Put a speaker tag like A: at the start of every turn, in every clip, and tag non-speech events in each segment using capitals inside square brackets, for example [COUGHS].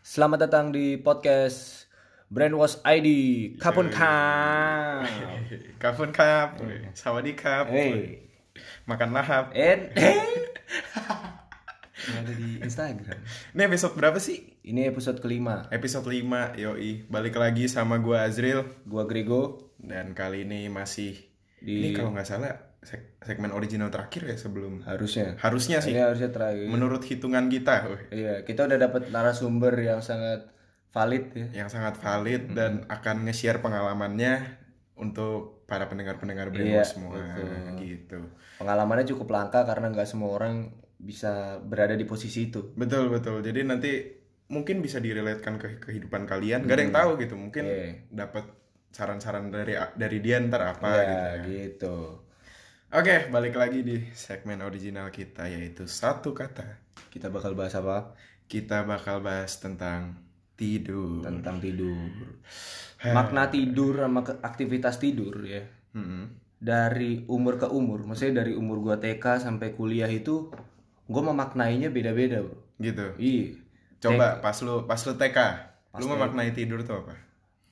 A: Selamat datang di podcast Brainwash ID Kapun Kam.
B: [LAUGHS] Kapun kap, sawadi kap,
A: Hey,
B: makan lahap.
A: and hey. Yang ada di Instagram.
B: Ini episode berapa sih?
A: Ini episode kelima.
B: Episode 5, yoi. Balik lagi sama gua Azril.
A: Gua Grego
B: Dan kali ini masih, ini
A: di
B: kalau nggak salah seg- segmen original terakhir ya sebelum.
A: harusnya.
B: Harusnya Iya sih,
A: Ini harusnya terakhir.
B: menurut hitungan kita. weh.
A: Iya, kita udah dapat narasumber yang sangat valid ya.
B: Yang sangat
A: Hmm.
B: valid dan akan nge-share pengalamannya untuk para pendengar-pendengar
A: Iya,
B: brainwash semua.
A: betul.
B: Gitu.
A: Pengalamannya cukup langka karena nggak semua orang bisa berada di posisi itu.
B: Betul, betul. Jadi nanti mungkin bisa direlatekan ke kehidupan kalian. Gak ada
A: Hmm.
B: yang tahu gitu. Mungkin
A: Iya.
B: dapat saran-saran dari dari dia ntar apa gitu.
A: Ya, gitu.
B: Oke, balik lagi di segmen original kita yaitu satu kata.
A: Kita bakal bahas apa?
B: Kita bakal bahas tentang tidur.
A: Tentang tidur.
B: Hah.
A: makna tidur sama ke- aktivitas tidur ya
B: Mm-mm.
A: dari umur ke umur maksudnya dari umur gua TK sampai kuliah itu gua memaknainya beda-beda bro
B: Gitu.
A: iya
B: Coba pas lu pas lu TK, lu memaknai tidur tuh apa?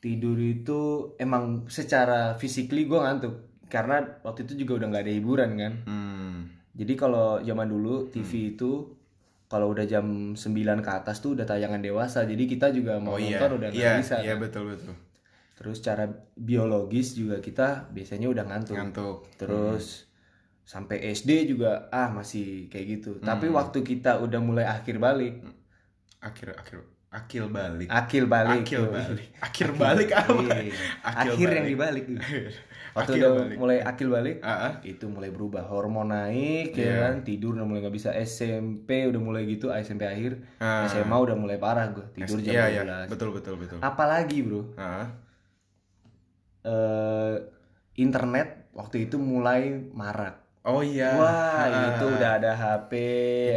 A: tidur itu emang secara physically gua ngantuk karena waktu itu juga udah nggak ada hiburan kan
B: Hmm.
A: jadi kalau zaman dulu TV itu kalau udah jam 9 ke atas tuh udah tayangan dewasa jadi kita juga mau
B: Oh iya.
A: nonton udah nggak
B: Iya,
A: bisa
B: iya betul betul.
A: terus cara biologis juga kita biasanya udah ngantuk
B: Ngantuk.
A: terus
B: Hmm.
A: sampai SD juga ah masih kayak gitu
B: Hmm.
A: tapi waktu kita udah mulai akhir balik
B: Akhir akhir akil balik.
A: akil balik
B: Akil
A: tuh.
B: balik. Akhir balik apa?
A: Iya.
B: Akil
A: akhir yang
B: balik. [LAUGHS]
A: dibalik tuh. waktu
B: Akil
A: udah
B: balik.
A: mulai akil balik
B: Ah, ah.
A: itu mulai berubah hormon naik ya
B: Iya.
A: kan tidur udah mulai nggak bisa SMP udah mulai gitu SMP akhir
B: Ah.
A: SMA udah mulai parah gue tidur jam
B: Iya, iya.
A: 12
B: Betul betul betul.
A: apalagi bro
B: Ah.
A: eh, internet waktu itu mulai marak
B: Oh iya.
A: wah
B: Ah,
A: itu
B: ah, ah.
A: udah ada HP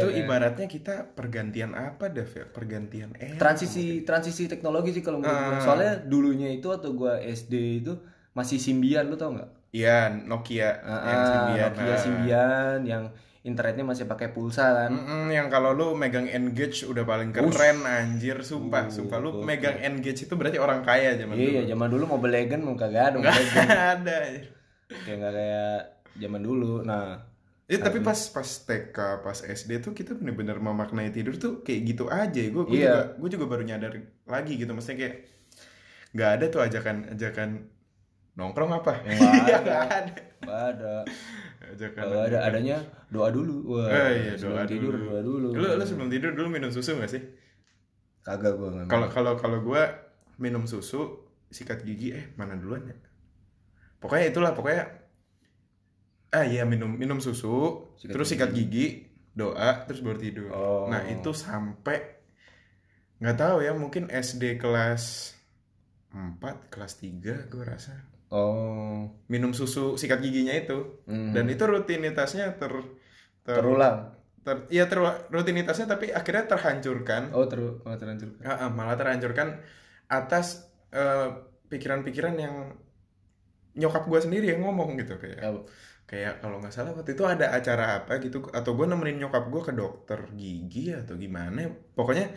B: Itu
A: ya kan?
B: ibaratnya kita pergantian apa, Dev? ya? Pergantian era.
A: transisi transisi teknologi sih kalau menurut gua.
B: Ah.
A: Soalnya dulunya itu atau gua SD itu masih simbian lu tau nggak?
B: Iya, Nokia yang
A: Ah,
B: Symbian.
A: Nokia
B: Ah.
A: simbian yang internetnya masih pakai pulsa kan.
B: Mm-mm, yang kalau lu megang Engage udah paling keren anjir, sumpah, sumpah lu megang Engage itu berarti orang kaya
A: Iya,
B: zaman [LAUGHS]
A: iya, zaman dulu Mobile Legend mau kagak ada Mobile Legends.
B: dulu. Ada. anjir.
A: kayak nggak kayak zaman dulu. Nah,
B: Eh, tapi pas pas TK, pas SD tuh kita bener-bener memaknai tidur tuh kayak gitu aja. Gue
A: Iya.
B: juga gue juga baru nyadar lagi gitu, maksudnya kayak nggak ada tuh ajakan ajakan nongkrong apa? Iya, nggak ada.
A: nggak ada.
B: Ajakan
A: Nggak ada adanya doa dulu. Wah,
B: Eh, iya,
A: sebelum
B: doa
A: tidur
B: dulu.
A: doa dulu.
B: Lu, lu sebelum tidur dulu minum susu gak sih?
A: Kagak gua nggak.
B: Kalau kalau kalau gue minum susu, sikat gigi, eh mana duluan ya? Pokoknya itulah, pokoknya ah iya minum minum susu,
A: Sikat
B: terus
A: gigi.
B: sikat gigi, doa, terus baru tidur.
A: Oh.
B: Nah itu sampai nggak tahu ya mungkin SD kelas 4, kelas 3 gue rasa
A: Oh,
B: minum susu sikat giginya itu
A: Hmm.
B: dan itu rutinitasnya ter ter,
A: terulang.
B: ter- ya ter- rutinitasnya tapi akhirnya terhancurkan
A: Oh, teru oh, terhancur.
B: Ah, ah, malah terhancurkan atas eh, pikiran-pikiran yang nyokap gue sendiri yang ngomong gitu kayak
A: Apa?
B: kayak kalau nggak salah waktu itu ada acara apa gitu atau gue nemenin nyokap gue ke dokter gigi atau gimana pokoknya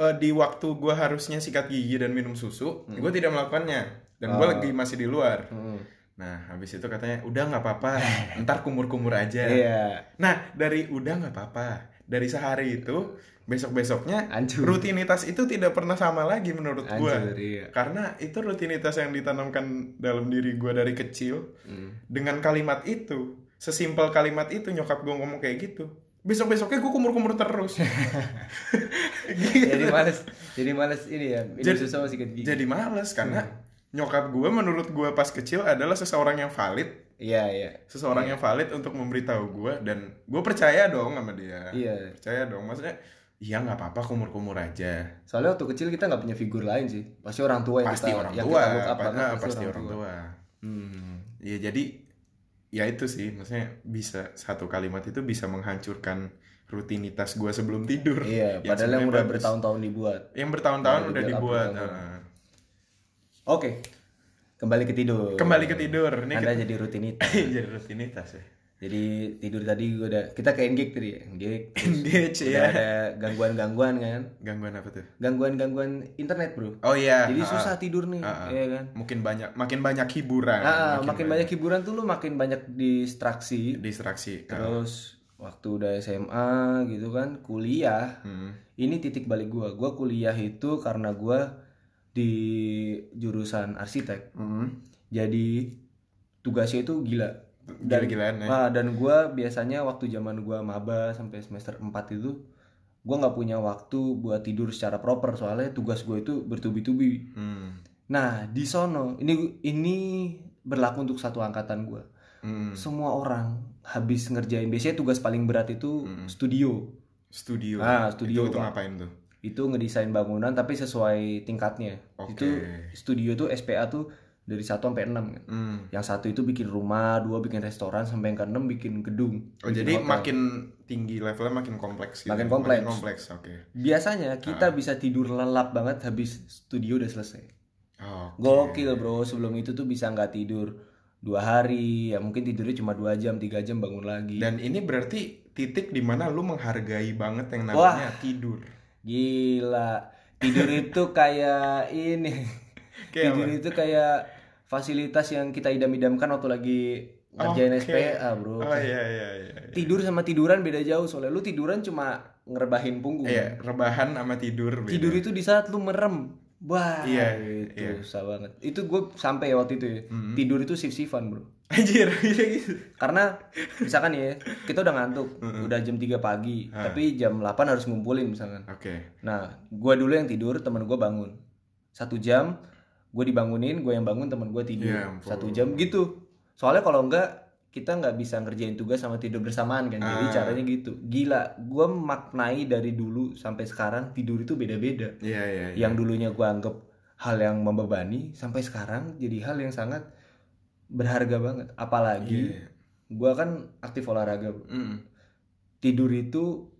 B: eh, di waktu gue harusnya sikat gigi dan minum susu gue tidak melakukannya dan gue
A: Hmm. Ah.
B: lagi masih di luar
A: Mm-mm.
B: nah habis itu katanya udah nggak
A: [LAUGHS]
B: apa-apa ntar kumur-kumur aja
A: Iya,
B: Nah, dari udah nggak apa-apa. Dari sehari itu, besok-besoknya
A: hancur.
B: rutinitas itu tidak pernah sama lagi menurut
A: Hancur,
B: gue.
A: iya.
B: Karena itu rutinitas yang ditanamkan dalam diri gue dari kecil.
A: Mm.
B: Dengan kalimat itu, sesimpel kalimat itu nyokap gue ngomong kayak gitu. Besok-besoknya gue kumur-kumur
A: [LAUGHS]
B: terus.
A: jadi males jadi males ini ya ini
B: Jadi-
A: susah masih gigi
B: Jadi males
A: Hmm.
B: karena nyokap gue menurut gue pas kecil adalah seseorang yang valid.
A: iya iya
B: Seseorang yang valid untuk memberitahu gue. Dan gue percaya dong sama dia.
A: iya
B: percaya dong maksudnya iya nggak apa-apa kumur-kumur aja
A: soalnya waktu kecil kita nggak punya figur lain sih pasti orang tua yang
B: pasti
A: kita
B: orang
A: yang
B: tua
A: kita look up
B: pa-
A: banget,
B: ah, pasti orang tua
A: Hmm.
B: ya jadi ya itu sih maksudnya bisa satu kalimat itu bisa menghancurkan rutinitas gua sebelum tidur
A: iya padahal
B: Yang
A: yang
B: sebenarnya
A: udah Nah,
B: bagus.
A: bertahun-tahun dibuat
B: yang bertahun-tahun
A: Yang
B: udah
A: dibuat
B: dibuat
A: apa-apa.
B: ah.
A: oke kembali ke tidur
B: kembali ke tidur ini
A: anda [LAUGHS]
B: kita- [LAUGHS]
A: jadi rutinitas
B: jadi rutinitas ya
A: Jadi tidur tadi gue udah kita ke engage tadi, ya, engage.
B: Engage
A: Udah
B: ya.
A: ada gangguan-gangguan kan.
B: Gangguan apa tuh?
A: Gangguan-gangguan internet, Bro.
B: Oh iya.
A: Jadi
B: ah,
A: susah tidur nih,
B: ah, ah.
A: iya kan?
B: Mungkin banyak makin banyak hiburan.
A: Ah, makin, banyak hiburan tuh lu makin banyak distraksi.
B: distraksi. Ah,
A: Terus waktu udah SMA gitu kan, kuliah.
B: hmm.
A: Ini titik balik gua. Gua kuliah itu karena gua di jurusan arsitek.
B: Hmm.
A: Jadi tugasnya itu gila. Dan-
B: Gila-gilaan ya.
A: Nah, dan gua biasanya waktu zaman gua maba sampai semester 4 itu gua nggak punya waktu buat tidur secara proper soalnya tugas gue itu bertubi-tubi.
B: Hmm.
A: Nah, di sono ini ini berlaku untuk satu angkatan gua.
B: Hmm.
A: Semua orang habis ngerjain biasanya tugas paling berat itu
B: Mm.
A: studio.
B: Studio.
A: Ah,
B: Itu,
A: studio,
B: itu
A: Pak.
B: ngapain tuh?
A: Itu ngedesain bangunan tapi sesuai tingkatnya.
B: Oke.
A: Itu studio tuh SPA tuh dari 1 sampai 6 kan.
B: Hmm.
A: Yang satu itu bikin rumah, dua bikin restoran, sampai yang keenam bikin gedung.
B: Oh,
A: bikin
B: jadi
A: hotel.
B: makin tinggi levelnya makin kompleks gitu.
A: Makin kompleks.
B: Makin kompleks, oke.
A: Biasanya kita
B: Ah.
A: bisa tidur lelap banget habis studio udah selesai.
B: Oke.
A: Gokil bro, sebelum itu tuh bisa nggak tidur dua hari, ya mungkin tidurnya cuma dua jam, tiga jam bangun lagi.
B: Dan ini berarti titik dimana lu menghargai banget yang
A: Wah.
B: namanya tidur.
A: Gila, tidur itu kayak ini,
B: [LAUGHS] Kayak
A: tidur itu kayak fasilitas yang kita idam-idamkan waktu lagi ngerjain
B: Oke.
A: SPA bro.
B: Oh iya iya iya. iya.
A: Tidur sama tiduran beda jauh soalnya lu tiduran cuma ngerebahin punggung.
B: Iya, rebahan sama tidur beda.
A: tidur itu di saat lu merem wah
B: Iya,
A: itu
B: iya.
A: susah banget itu gue sampai ya waktu itu ya
B: Mhm.
A: tidur itu sif sifan bro
B: [LAUGHS] Anjir, bisa gitu.
A: karena misalkan ya kita udah ngantuk udah jam 3 pagi
B: Ah.
A: tapi jam 8 harus ngumpulin misalkan
B: Oke.
A: nah gue dulu yang tidur temen gue bangun satu jam gue dibangunin gue yang bangun temen gue tidur
B: Ya ampun.
A: satu jam gitu soalnya kalau enggak kita nggak bisa ngerjain tugas sama tidur bersamaan kan jadi
B: Ah.
A: caranya gitu gila gue maknai dari dulu sampai sekarang tidur itu beda-beda
B: Iya iya iya.
A: yang dulunya gue anggap hal yang membebani sampai sekarang jadi hal yang sangat berharga banget apalagi
B: Iya. Hmm.
A: gua kan aktif olahraga bro.
B: Mm-mm.
A: tidur itu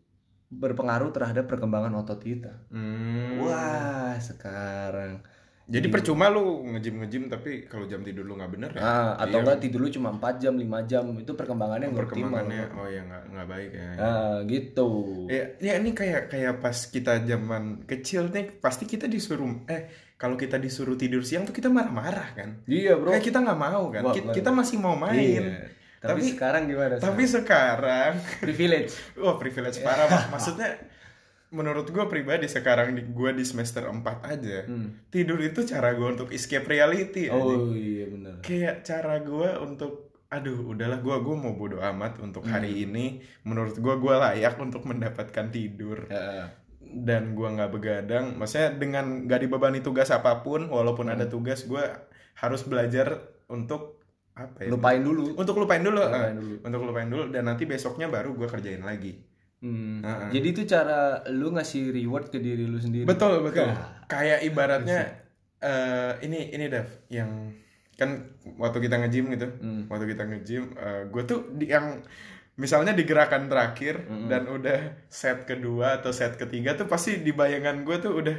A: berpengaruh terhadap perkembangan otot kita
B: Hmm.
A: wah sekarang
B: Jadi percuma lu ngejim ngejim tapi kalau jam tidur lu nggak bener ya?
A: ah, atau
B: Iya.
A: enggak tidur lu cuma 4 jam 5 jam itu perkembangannya nggak optimal
B: perkembangannya oh ya nggak nggak baik ya.
A: ah, gitu
B: Ya, ya ini kayak kayak pas kita zaman kecil nih pasti kita disuruh eh kalau kita disuruh tidur siang tuh kita marah-marah kan.
A: iya bro
B: Kayak kita nggak mau kan.
A: Wah, Iya.
B: Ki-
A: wah,
B: kita masih mau
A: Iya.
B: main.
A: tapi,
B: Tapi-
A: sekarang gimana
B: Tapi sekarang [LAUGHS]
A: sekarang? privilege
B: wah
A: [LAUGHS]
B: privilege parah Pak. Maksudnya menurut gue pribadi sekarang di gue di semester 4 aja
A: Hmm.
B: tidur itu cara gue untuk escape reality anjing.
A: oh iya bener
B: kayak cara gue untuk aduh udahlah gue gue mau bodo amat untuk hari
A: Hmm.
B: ini menurut gue gue layak untuk mendapatkan tidur
A: Ah,
B: dan gue nggak begadang maksudnya dengan gak dibebani tugas apapun walaupun ada tugas gue harus belajar untuk apa ya
A: lupain dulu
B: untuk lupain dulu
A: lupain
B: eh.
A: dulu
B: untuk lupain dulu dan nanti besoknya baru gue kerjain lagi
A: Hmm.
B: Heeh.
A: Jadi itu cara lu ngasih reward ke diri lu sendiri.
B: ah. betul betul Iya
A: Wah.
B: kayak ibaratnya eh ini ini Dev yang kan waktu kita nge-gym gitu
A: Hmm.
B: waktu kita nge-gym gue tuh di yang misalnya di gerakan terakhir
A: Mm-mm.
B: dan udah set kedua atau set ketiga tuh pasti di bayangan gue tuh udah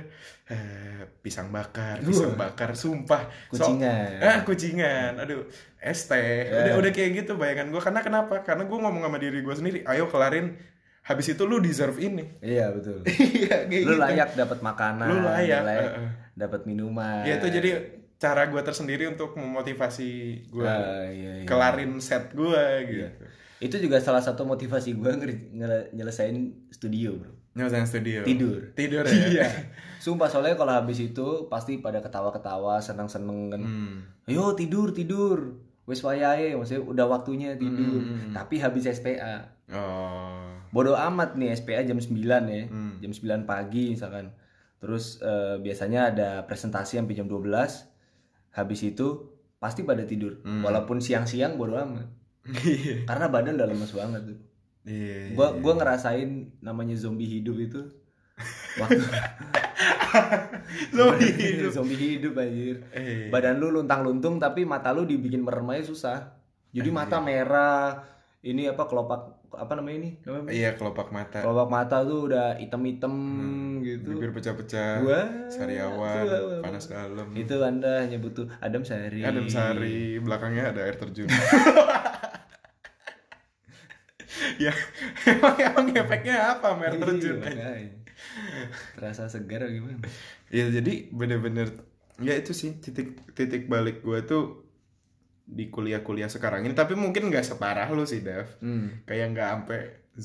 B: eh, pisang bakar pisang bakar sumpah So-
A: Kucingan. Eh.
B: ah kucingan aduh es teh udah udah kayak gitu bayangan gue karena kenapa karena gue ngomong sama diri gue sendiri ayo kelarin habis itu lu deserve ini
A: [LAUGHS] Iya, betul.
B: [LAUGHS] iya kayak
A: Lu
B: gitu
A: layak dapat makanan,
B: Lu layak, heeh.
A: dapat minuman.
B: ya itu jadi cara gue tersendiri untuk memotivasi gue
A: Ah, iya, iya.
B: kelarin set gue gitu
A: Itu juga salah satu motivasi gua ngeri- ngele- nyelesain studio, Bro.
B: Nyelesain studio.
A: Tidur.
B: Tidur ya.
A: Sumpah soalnya kalau habis itu pasti pada ketawa-ketawa, seneng-seneng kan.
B: Hmm.
A: Ayo tidur, tidur. Wes wayahe, maksudnya udah waktunya tidur.
B: Hmm,
A: Tapi habis SPA.
B: Oh.
A: bodo amat nih SPA jam 9 ya
B: Hmm.
A: jam 9 pagi misalkan terus eh, biasanya ada presentasi sampai jam 12 habis itu pasti pada tidur
B: Hmm.
A: walaupun siang-siang bodo amat
B: Iya.
A: karena badan udah lemes banget tuh
B: Iya.
A: gua gua ngerasain namanya zombie hidup
B: [LAUGHS]
A: itu waktu
B: Zombie hidup.
A: [LAUGHS] zombie hidup anjir
B: Eh.
A: badan lu luntang-luntung tapi mata lu dibikin merem aja susah jadi mata merah ini apa kelopak apa namanya ini namanya apa?
B: Iya, kelopak mata.
A: kelopak mata tuh udah item-item gitu
B: Hmm, Bibir pecah-pecah.
A: Wah.
B: Sariawan,
A: Wah, wah,
B: panas dalam.
A: itu anda hanya butuh Adam Sari [LAUGHS]
B: Adam Sari, belakangnya ada air terjun. ya emang, emang efeknya apa air terjun
A: Iya,
B: aja? [LAUGHS]
A: makanya. Terasa segar apa gimana?
B: ya jadi bener-bener ya itu sih titik titik balik gue tuh di kuliah-kuliah sekarang ini tapi mungkin nggak separah lu sih Dev
A: Hmm.
B: kayak nggak sampai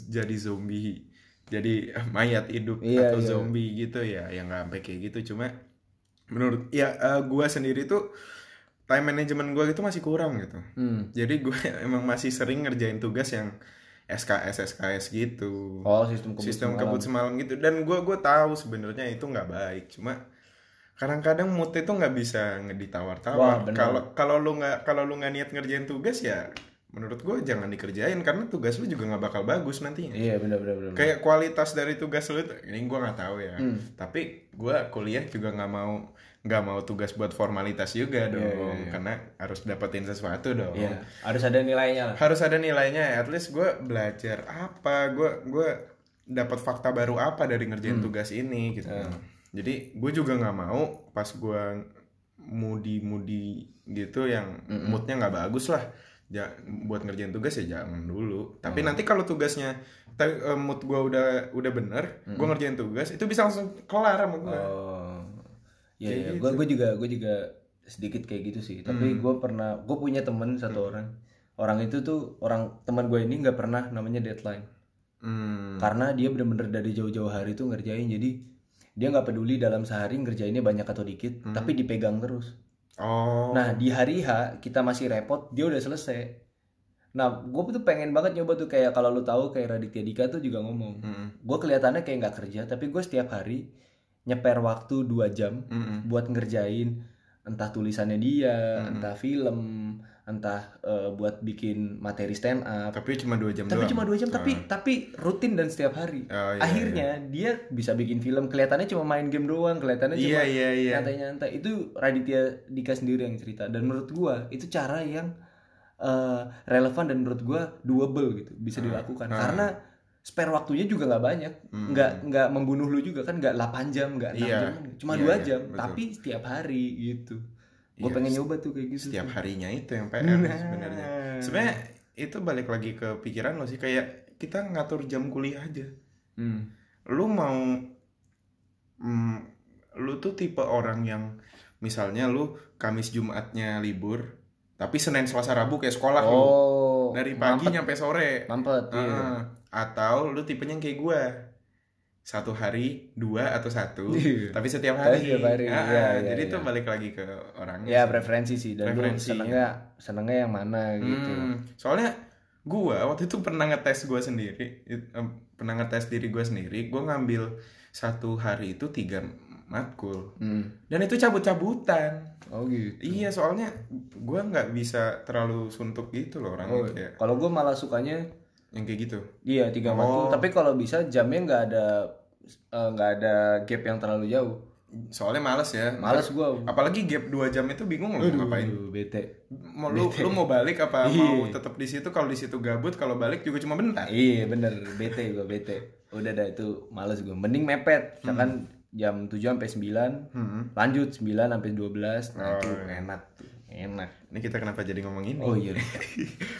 B: jadi zombie jadi [LAUGHS] eh, mayat hidup
A: Iya,
B: atau
A: iya.
B: zombie gitu ya yang nggak sampai kayak gitu cuma menurut ya eh, gua sendiri tuh time management gua gitu masih kurang gitu
A: Hmm.
B: jadi gue [LAUGHS] emang masih sering ngerjain tugas yang SKS SKS gitu
A: Oh, sistem kebut
B: sistem
A: semalam.
B: kebut semalam gitu dan gua gua tahu sebenarnya itu nggak baik cuma kadang-kadang mood itu nggak bisa
A: Wah,
B: ngeditawar-tawar
A: bener.
B: kalau kalau lu nggak kalau lu nggak niat ngerjain tugas ya menurut gua jangan dikerjain karena tugas lu juga nggak bakal bagus nantinya
A: Iya, benar benar benar.
B: kayak kualitas dari tugas lu itu- ini gua nggak tahu ya
A: Hmm.
B: tapi gua kuliah juga nggak mau nggak mau tugas buat formalitas juga dong
A: Iya, iya, iya.
B: karena harus dapetin sesuatu dong
A: Iya, harus ada nilainya lah.
B: harus ada nilainya ya. at least gue belajar apa gue gue dapat fakta baru apa dari
A: Hmm.
B: ngerjain tugas ini gitu
A: Ya.
B: kan. jadi gue juga nggak mau pas gue mudi-mudi gitu yang
A: Hmm.
B: moodnya nggak bagus lah ja, buat ngerjain tugas ya jangan
A: Hmm.
B: dulu tapi nanti kalau tugasnya tapi, eh, mood gue udah udah bener gue ngerjain tugas itu bisa langsung kelar sama gue
A: Hmm. Oh. Iya,
B: Kayak gitu. Hmm.
A: iya. Gua gua juga gua juga sedikit kayak gitu sih. Tapi gua pernah gua punya temen satu orang. Orang itu tuh orang teman gua ini nggak pernah namanya deadline.
B: Hmm.
A: Karena dia bener-bener dari jauh-jauh hari tuh ngerjain. Jadi dia nggak peduli dalam sehari ngerjainnya banyak atau dikit, tapi dipegang terus.
B: Hmm. oh
A: Nah di hari H kita masih repot, dia udah selesai. Nah gue tuh pengen banget nyoba tuh kayak kalau lu tahu kayak Raditya Dika tuh juga ngomong.
B: Mm-mm.
A: Gue kelihatannya kayak nggak kerja, tapi gue setiap hari nyeper waktu dua jam
B: Mm-mm.
A: buat ngerjain entah tulisannya dia,
B: Hmm.
A: entah film, entah eh, buat bikin materi stand up.
B: tapi cuma dua jam
A: Tapi
B: doang.
A: cuma dua jam, tapi tapi rutin dan setiap hari.
B: Oh, iya,
A: Akhirnya dia bisa bikin film. Kelihatannya cuma main game doang, kelihatannya cuma
B: iya iya iya
A: nyantai-nyantai itu Raditya Dika sendiri yang cerita dan menurut gua itu cara yang eh, relevan dan menurut gua doable gitu
B: Hmm.
A: bisa dilakukan karena spare waktunya juga nggak banyak nggak nggak membunuh lu juga kan nggak 8 jam nggak 6
B: Hmm. Iya.
A: jam cuma
B: Iya,
A: dua
B: iya,
A: jam
B: betul.
A: tapi setiap hari gitu gua
B: Iya,
A: pengen nyoba tuh kayak gitu
B: setiap
A: [LAUGHS] tuh.
B: harinya itu yang PR
A: Nah.
B: sebenarnya. Sebenarnya itu balik lagi ke pikiran lo sih kayak kita ngatur jam kuliah aja.
A: Hmm.
B: Lu mau mm, lu tuh tipe orang yang misalnya lu Kamis Jumatnya libur, tapi Senin Selasa Rabu kayak sekolah lu.
A: oh
B: Dari pagi
A: mampet,
B: nyampe Ah, sore.
A: mampet iya. [LAUGHS]
B: Heeh. Atau lu tipenya yang kayak gua. Satu hari, dua atau
A: [LAUGHS]
B: satu,
A: Iya.
B: tapi setiap
A: Tapi
B: hari.
A: setiap hari,
B: Heeh,
A: iya, iya,
B: jadi itu
A: iya.
B: balik lagi ke orangnya.
A: ya
B: sih.
A: preferensi sih dan lu
B: Preferensi, iya.
A: senengnya senengnya yang mana gitu
B: Hmm, soalnya gua waktu itu pernah ngetes gua sendiri, it- em, pernah ngetes diri gua sendiri. Gua ngambil satu hari itu tiga matkul,
A: Hmm.
B: dan itu cabut-cabutan.
A: oh gitu
B: Iya, soalnya gua nggak bisa terlalu suntuk gitu loh
A: Oh,
B: orangnya kayak
A: kalau gue malah sukanya
B: yang kayak gitu.
A: Iya tiga
B: Oh.
A: matkul. Tapi kalau bisa jamnya nggak ada eh, nggak ada gap yang terlalu jauh.
B: Soalnya males ya.
A: Males gue.
B: Apalagi gap 2 jam itu bingung loh mau ngapain.
A: Bete. Iya.
B: Mau lu, lu mau balik apa mau tetap di situ kalau di situ gabut, kalau balik juga cuma bentar.
A: Iya bener bete gue bete. Udah dah itu males gue. Mending mepet. Misalkan jam 7 sampai 9
B: Hmm.
A: lanjut 9 sampai 12 nah itu
B: Oh, iya.
A: enak tuh. Enak.
B: Ini kita kenapa jadi ngomong ini? [LAUGHS]
A: Oh [LAUGHS] iya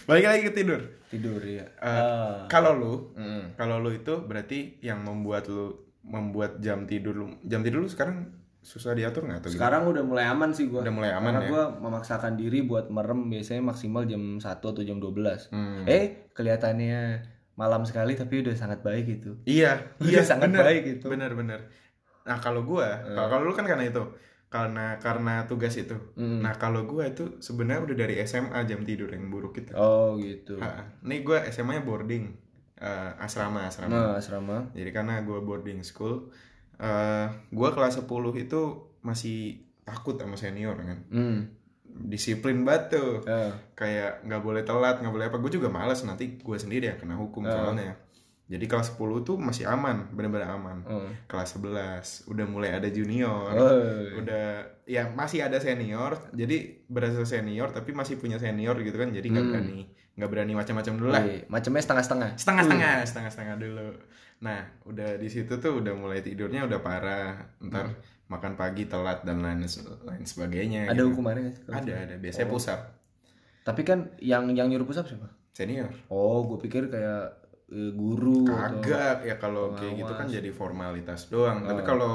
B: Balik lagi ke tidur.
A: tidur ya. Ah.
B: Kalau lu
A: Mm.
B: Kalau lu itu berarti yang membuat lu membuat jam tidur lu jam tidur lu sekarang susah diatur nggak atau gimana?
A: Sekarang udah mulai aman sih gue.
B: Udah mulai aman
A: Karena
B: ya?
A: gue memaksakan diri buat merem biasanya maksimal jam 1 atau jam 12.
B: Hmm.
A: Eh kelihatannya malam sekali tapi udah sangat baik itu.
B: Iya,
A: Udah
B: iya
A: sangat
B: bener,
A: baik itu.
B: Bener bener. Nah kalau gua, kalau kalau lu kan karena itu karena karena tugas itu.
A: Hmm.
B: Nah kalau gua itu sebenarnya udah dari SMA jam tidur yang buruk kita.
A: Oh gitu.
B: Nih gua SMA-nya boarding Eh, asrama asrama.
A: Nah, asrama.
B: Jadi karena gue boarding school, eh gue kelas 10 itu masih takut sama senior kan.
A: Hmm.
B: Disiplin banget tuh.
A: Eh,
B: kayak nggak boleh telat nggak boleh apa gue juga males nanti gue sendiri yang kena hukum soalnya jadi kelas 10 tuh masih aman bener-bener aman
A: eh.
B: kelas 11 udah mulai ada junior
A: Eh,
B: udah ya masih ada senior jadi berasa senior tapi masih punya senior gitu kan jadi nggak berani nggak berani macam-macam dulu lah
A: eh, Macamnya setengah-setengah.
B: setengah-setengah setengah-setengah dulu nah udah di situ tuh udah mulai tidurnya udah parah ntar makan pagi telat dan lain lain sebagainya
A: Ada
B: gitu.
A: hukumannya nggak sih? kalau-
B: ada ada biasanya pusat
A: Tapi kan yang yang nyuruh pusap siapa?
B: senior
A: Oh, gue pikir kayak eh, guru atau
B: kagak ya kalau kayak gitu kan
A: pengawas.
B: jadi formalitas doang tapi
A: Oh.
B: kalau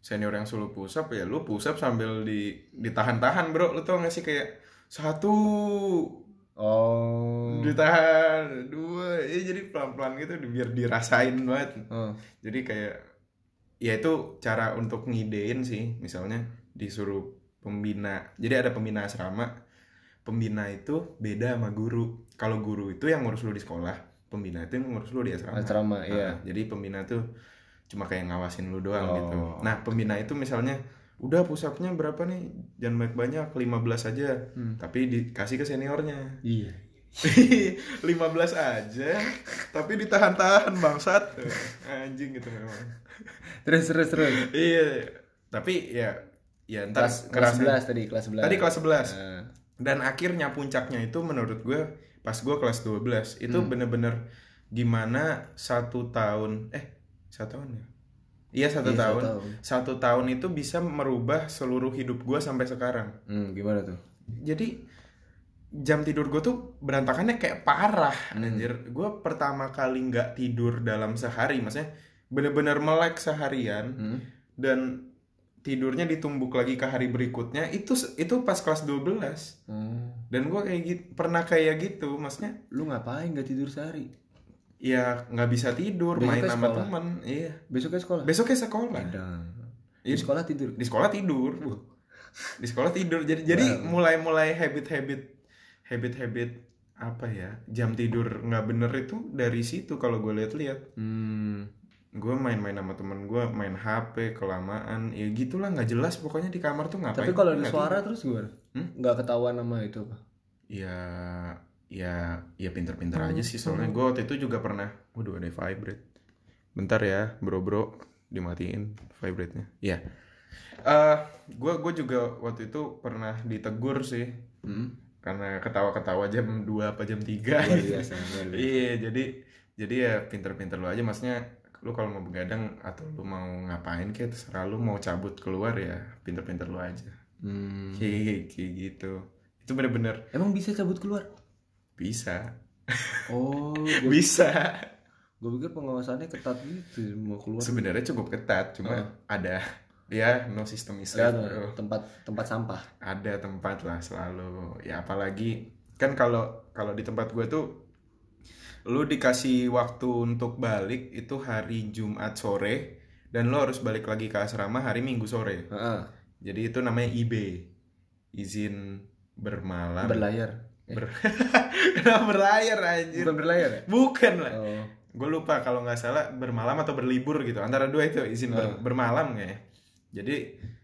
B: senior yang suruh push up ya lu push up sambil di ditahan-tahan bro lu tau gak sih kayak satu
A: oh
B: ditahan dua ya jadi pelan-pelan gitu biar dirasain banget
A: Oh.
B: jadi kayak ya itu cara untuk ngidein sih misalnya disuruh pembina jadi ada pembina asrama pembina itu beda sama guru kalau guru itu yang ngurus lu di sekolah pembina itu yang ngurus lu di asrama,
A: asrama
B: Nah,
A: iya
B: jadi pembina tuh cuma kayak ngawasin lu doang
A: Oh.
B: gitu nah pembina itu misalnya udah pusapnya berapa nih jangan banyak banyak 15 aja
A: Hmm.
B: tapi dikasih ke seniornya [LAUGHS]
A: iya
B: 15 aja tapi ditahan-tahan
A: [LAUGHS]
B: bangsat anjing gitu memang
A: terus terus terus
B: Iya. Tapi ya ya entar
A: kelas kelas 11
B: kerasa.
A: tadi kelas 11
B: Tadi kelas 11
A: Nah,
B: dan akhirnya puncaknya itu menurut gue pas gue kelas 12 itu bener-bener gimana satu tahun eh satu tahun ya iya satu
A: iya,
B: tahun satu tahun itu bisa merubah seluruh hidup gue sampai sekarang
A: Hmm, gimana tuh
B: jadi jam tidur gue tuh berantakannya kayak parah anjir gue pertama kali nggak tidur dalam sehari maksudnya bener-bener melek seharian
A: Hmm?
B: dan tidurnya ditumbuk lagi ke hari berikutnya itu itu pas kelas 12
A: Oh.
B: dan gue kayak gitu pernah kayak gitu maksudnya
A: lu ngapain gak tidur sehari
B: ya nggak bisa tidur
A: Besoknya
B: main sama
A: sekolah.
B: teman iya
A: besoknya sekolah
B: besoknya sekolah
A: ada
B: Iya.
A: di sekolah tidur
B: di sekolah tidur
A: Wah.
B: di sekolah tidur jadi jadi
A: Wow.
B: mulai mulai habit habit habit habit apa ya jam tidur nggak bener itu dari situ kalau gue lihat-lihat
A: hmm.
B: gue main-main sama temen gue main HP kelamaan ya gitulah nggak jelas pokoknya di kamar tuh ngapain
A: tapi kalau ada
B: nggak
A: suara terus gimana
B: Hmm?
A: nggak ketahuan nama itu apa
B: ya ya ya pinter-pinter aja sih soalnya gue waktu itu juga pernah waduh ada vibrate bentar ya bro bro dimatiin vibrate-nya ya eh gue gue juga waktu itu pernah ditegur sih
A: hmm?
B: karena ketawa-ketawa jam 2 apa jam 3
A: luar biasa luar biasa.
B: [LAUGHS] iya jadi jadi ya pinter-pinter lu aja maksudnya lu kalau mau begadang atau lu mau ngapain kayak terserah lu mau cabut keluar ya pinter-pinter lu aja
A: Hmm.
B: kayak kayak gitu itu bener-bener
A: emang bisa cabut keluar
B: bisa [LAUGHS]
A: oh
B: bisa
A: gue pikir pengawasannya ketat gitu mau keluar
B: sebenarnya cukup ketat cuma
A: Heeh.
B: ada [LAUGHS] ya no system is
A: Lihat,
B: safe, bro.
A: tempat tempat sampah
B: ada tempat lah selalu ya apalagi kan kalau kalau di tempat gue tuh lu dikasih waktu untuk balik itu hari Jumat sore dan lu harus balik lagi ke asrama hari Minggu sore
A: Heeh.
B: jadi itu namanya IB izin bermalam
A: berlayar
B: [LAUGHS] Kenapa berlayar anjir
A: bukan berlayar ya
B: bukan lah
A: oh
B: gue lupa kalau nggak salah bermalam atau berlibur gitu antara dua itu izin
A: Ah.
B: ber- bermalam kayaknya jadi